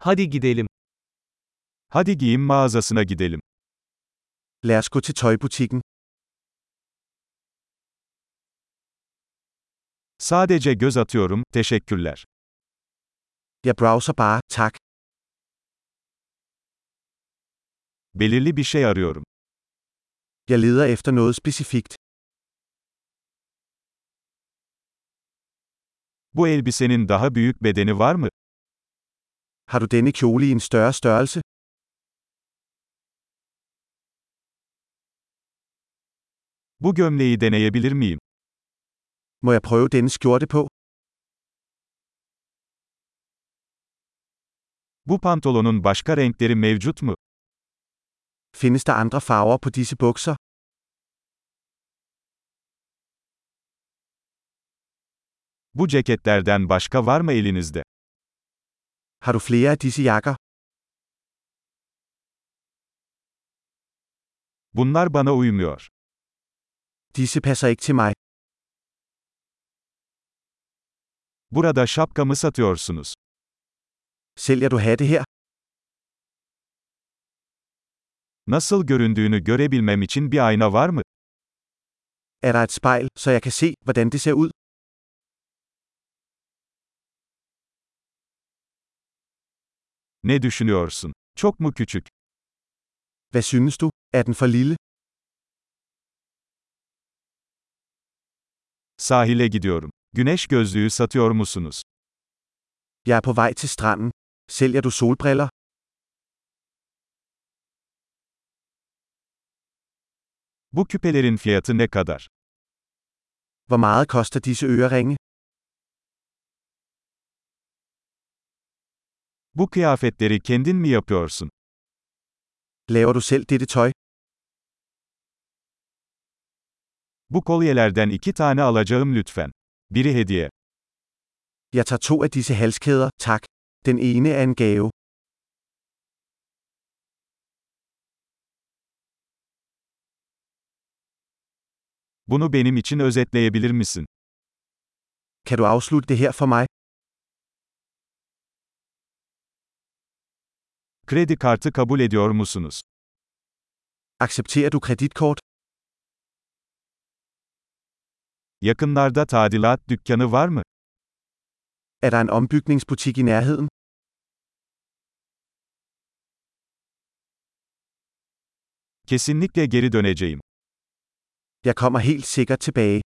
Hadi gidelim. Hadi giyim mağazasına gidelim. Lad os gå til tøjbutikken. Sadece göz atıyorum, teşekkürler. Jeg browser bare, tak. Belirli bir şey arıyorum. Jeg leder efter noget specifikt. Bu elbisenin daha büyük bedeni var mı? Har du denne kjole i en større størrelse? Bu gömleği deneyebilir miyim? Må jeg prøve denne skjorte på? Bu pantolonun başka renkleri mevcut mu? Findes der andre farver på disse bukser? Bu ceketlerden başka var mı elinizde? Har du flere af disse jakker? Bunlar bana uymuyor. Disse passer ikke til mig. Burada şapkamı satıyorsunuz. Sælger du hatte her? Nasıl göründüğünü görebilmem için bir ayna var mı? Er der et spejl, så jeg kan se, hvordan det ser ud? Ne düşünüyorsun? Çok mu küçük? Hvad synes du? Er den for lille? Sahile gidiyorum. Güneş gözlüğü satıyor musunuz? Jeg er på vej til stranden. Sælger du solbriller? Bu küpelerin fiyatı ne kadar? Hvor meget koster disse øreringe? Bu kıyafetleri kendin mi yapıyorsun? Laver du selv dette tøj? Bu kolyelerden iki tane alacağım lütfen. Biri hediye. Jeg tager to af disse halskæder, tak. Den ene er en gave. Bunu benim için özetleyebilir misin? Kan du afslutte det her for mig? Kredi kartı kabul ediyor musunuz? Accepterer du kreditkort? Yakınlarda tadilat dükkanı var mı? Er der en ombygningsbutik i nærheden? Kesinlikle geri döneceğim. Jeg kommer helt sikkert tilbage.